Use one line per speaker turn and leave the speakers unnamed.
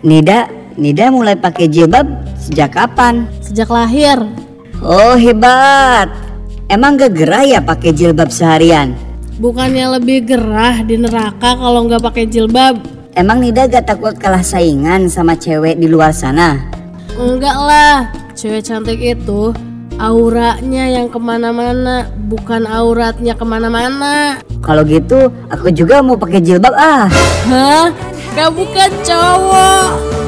Nida, Nida mulai pakai jilbab sejak kapan?
Sejak lahir,
Oh hebat. Emang gak gerah ya pakai jilbab seharian?
bukannya lebih gerah di neraka kalau nggak pakai jilbab?
Emang Nida gak takut kalah saingan sama cewek di luar sana?
Enggak lah, cewek cantik itu auranya yang kemana-mana, bukan auratnya kemana-mana.
Kalau gitu, aku juga mau pakai jilbab ah.
Hah? Kamu bukan cowok.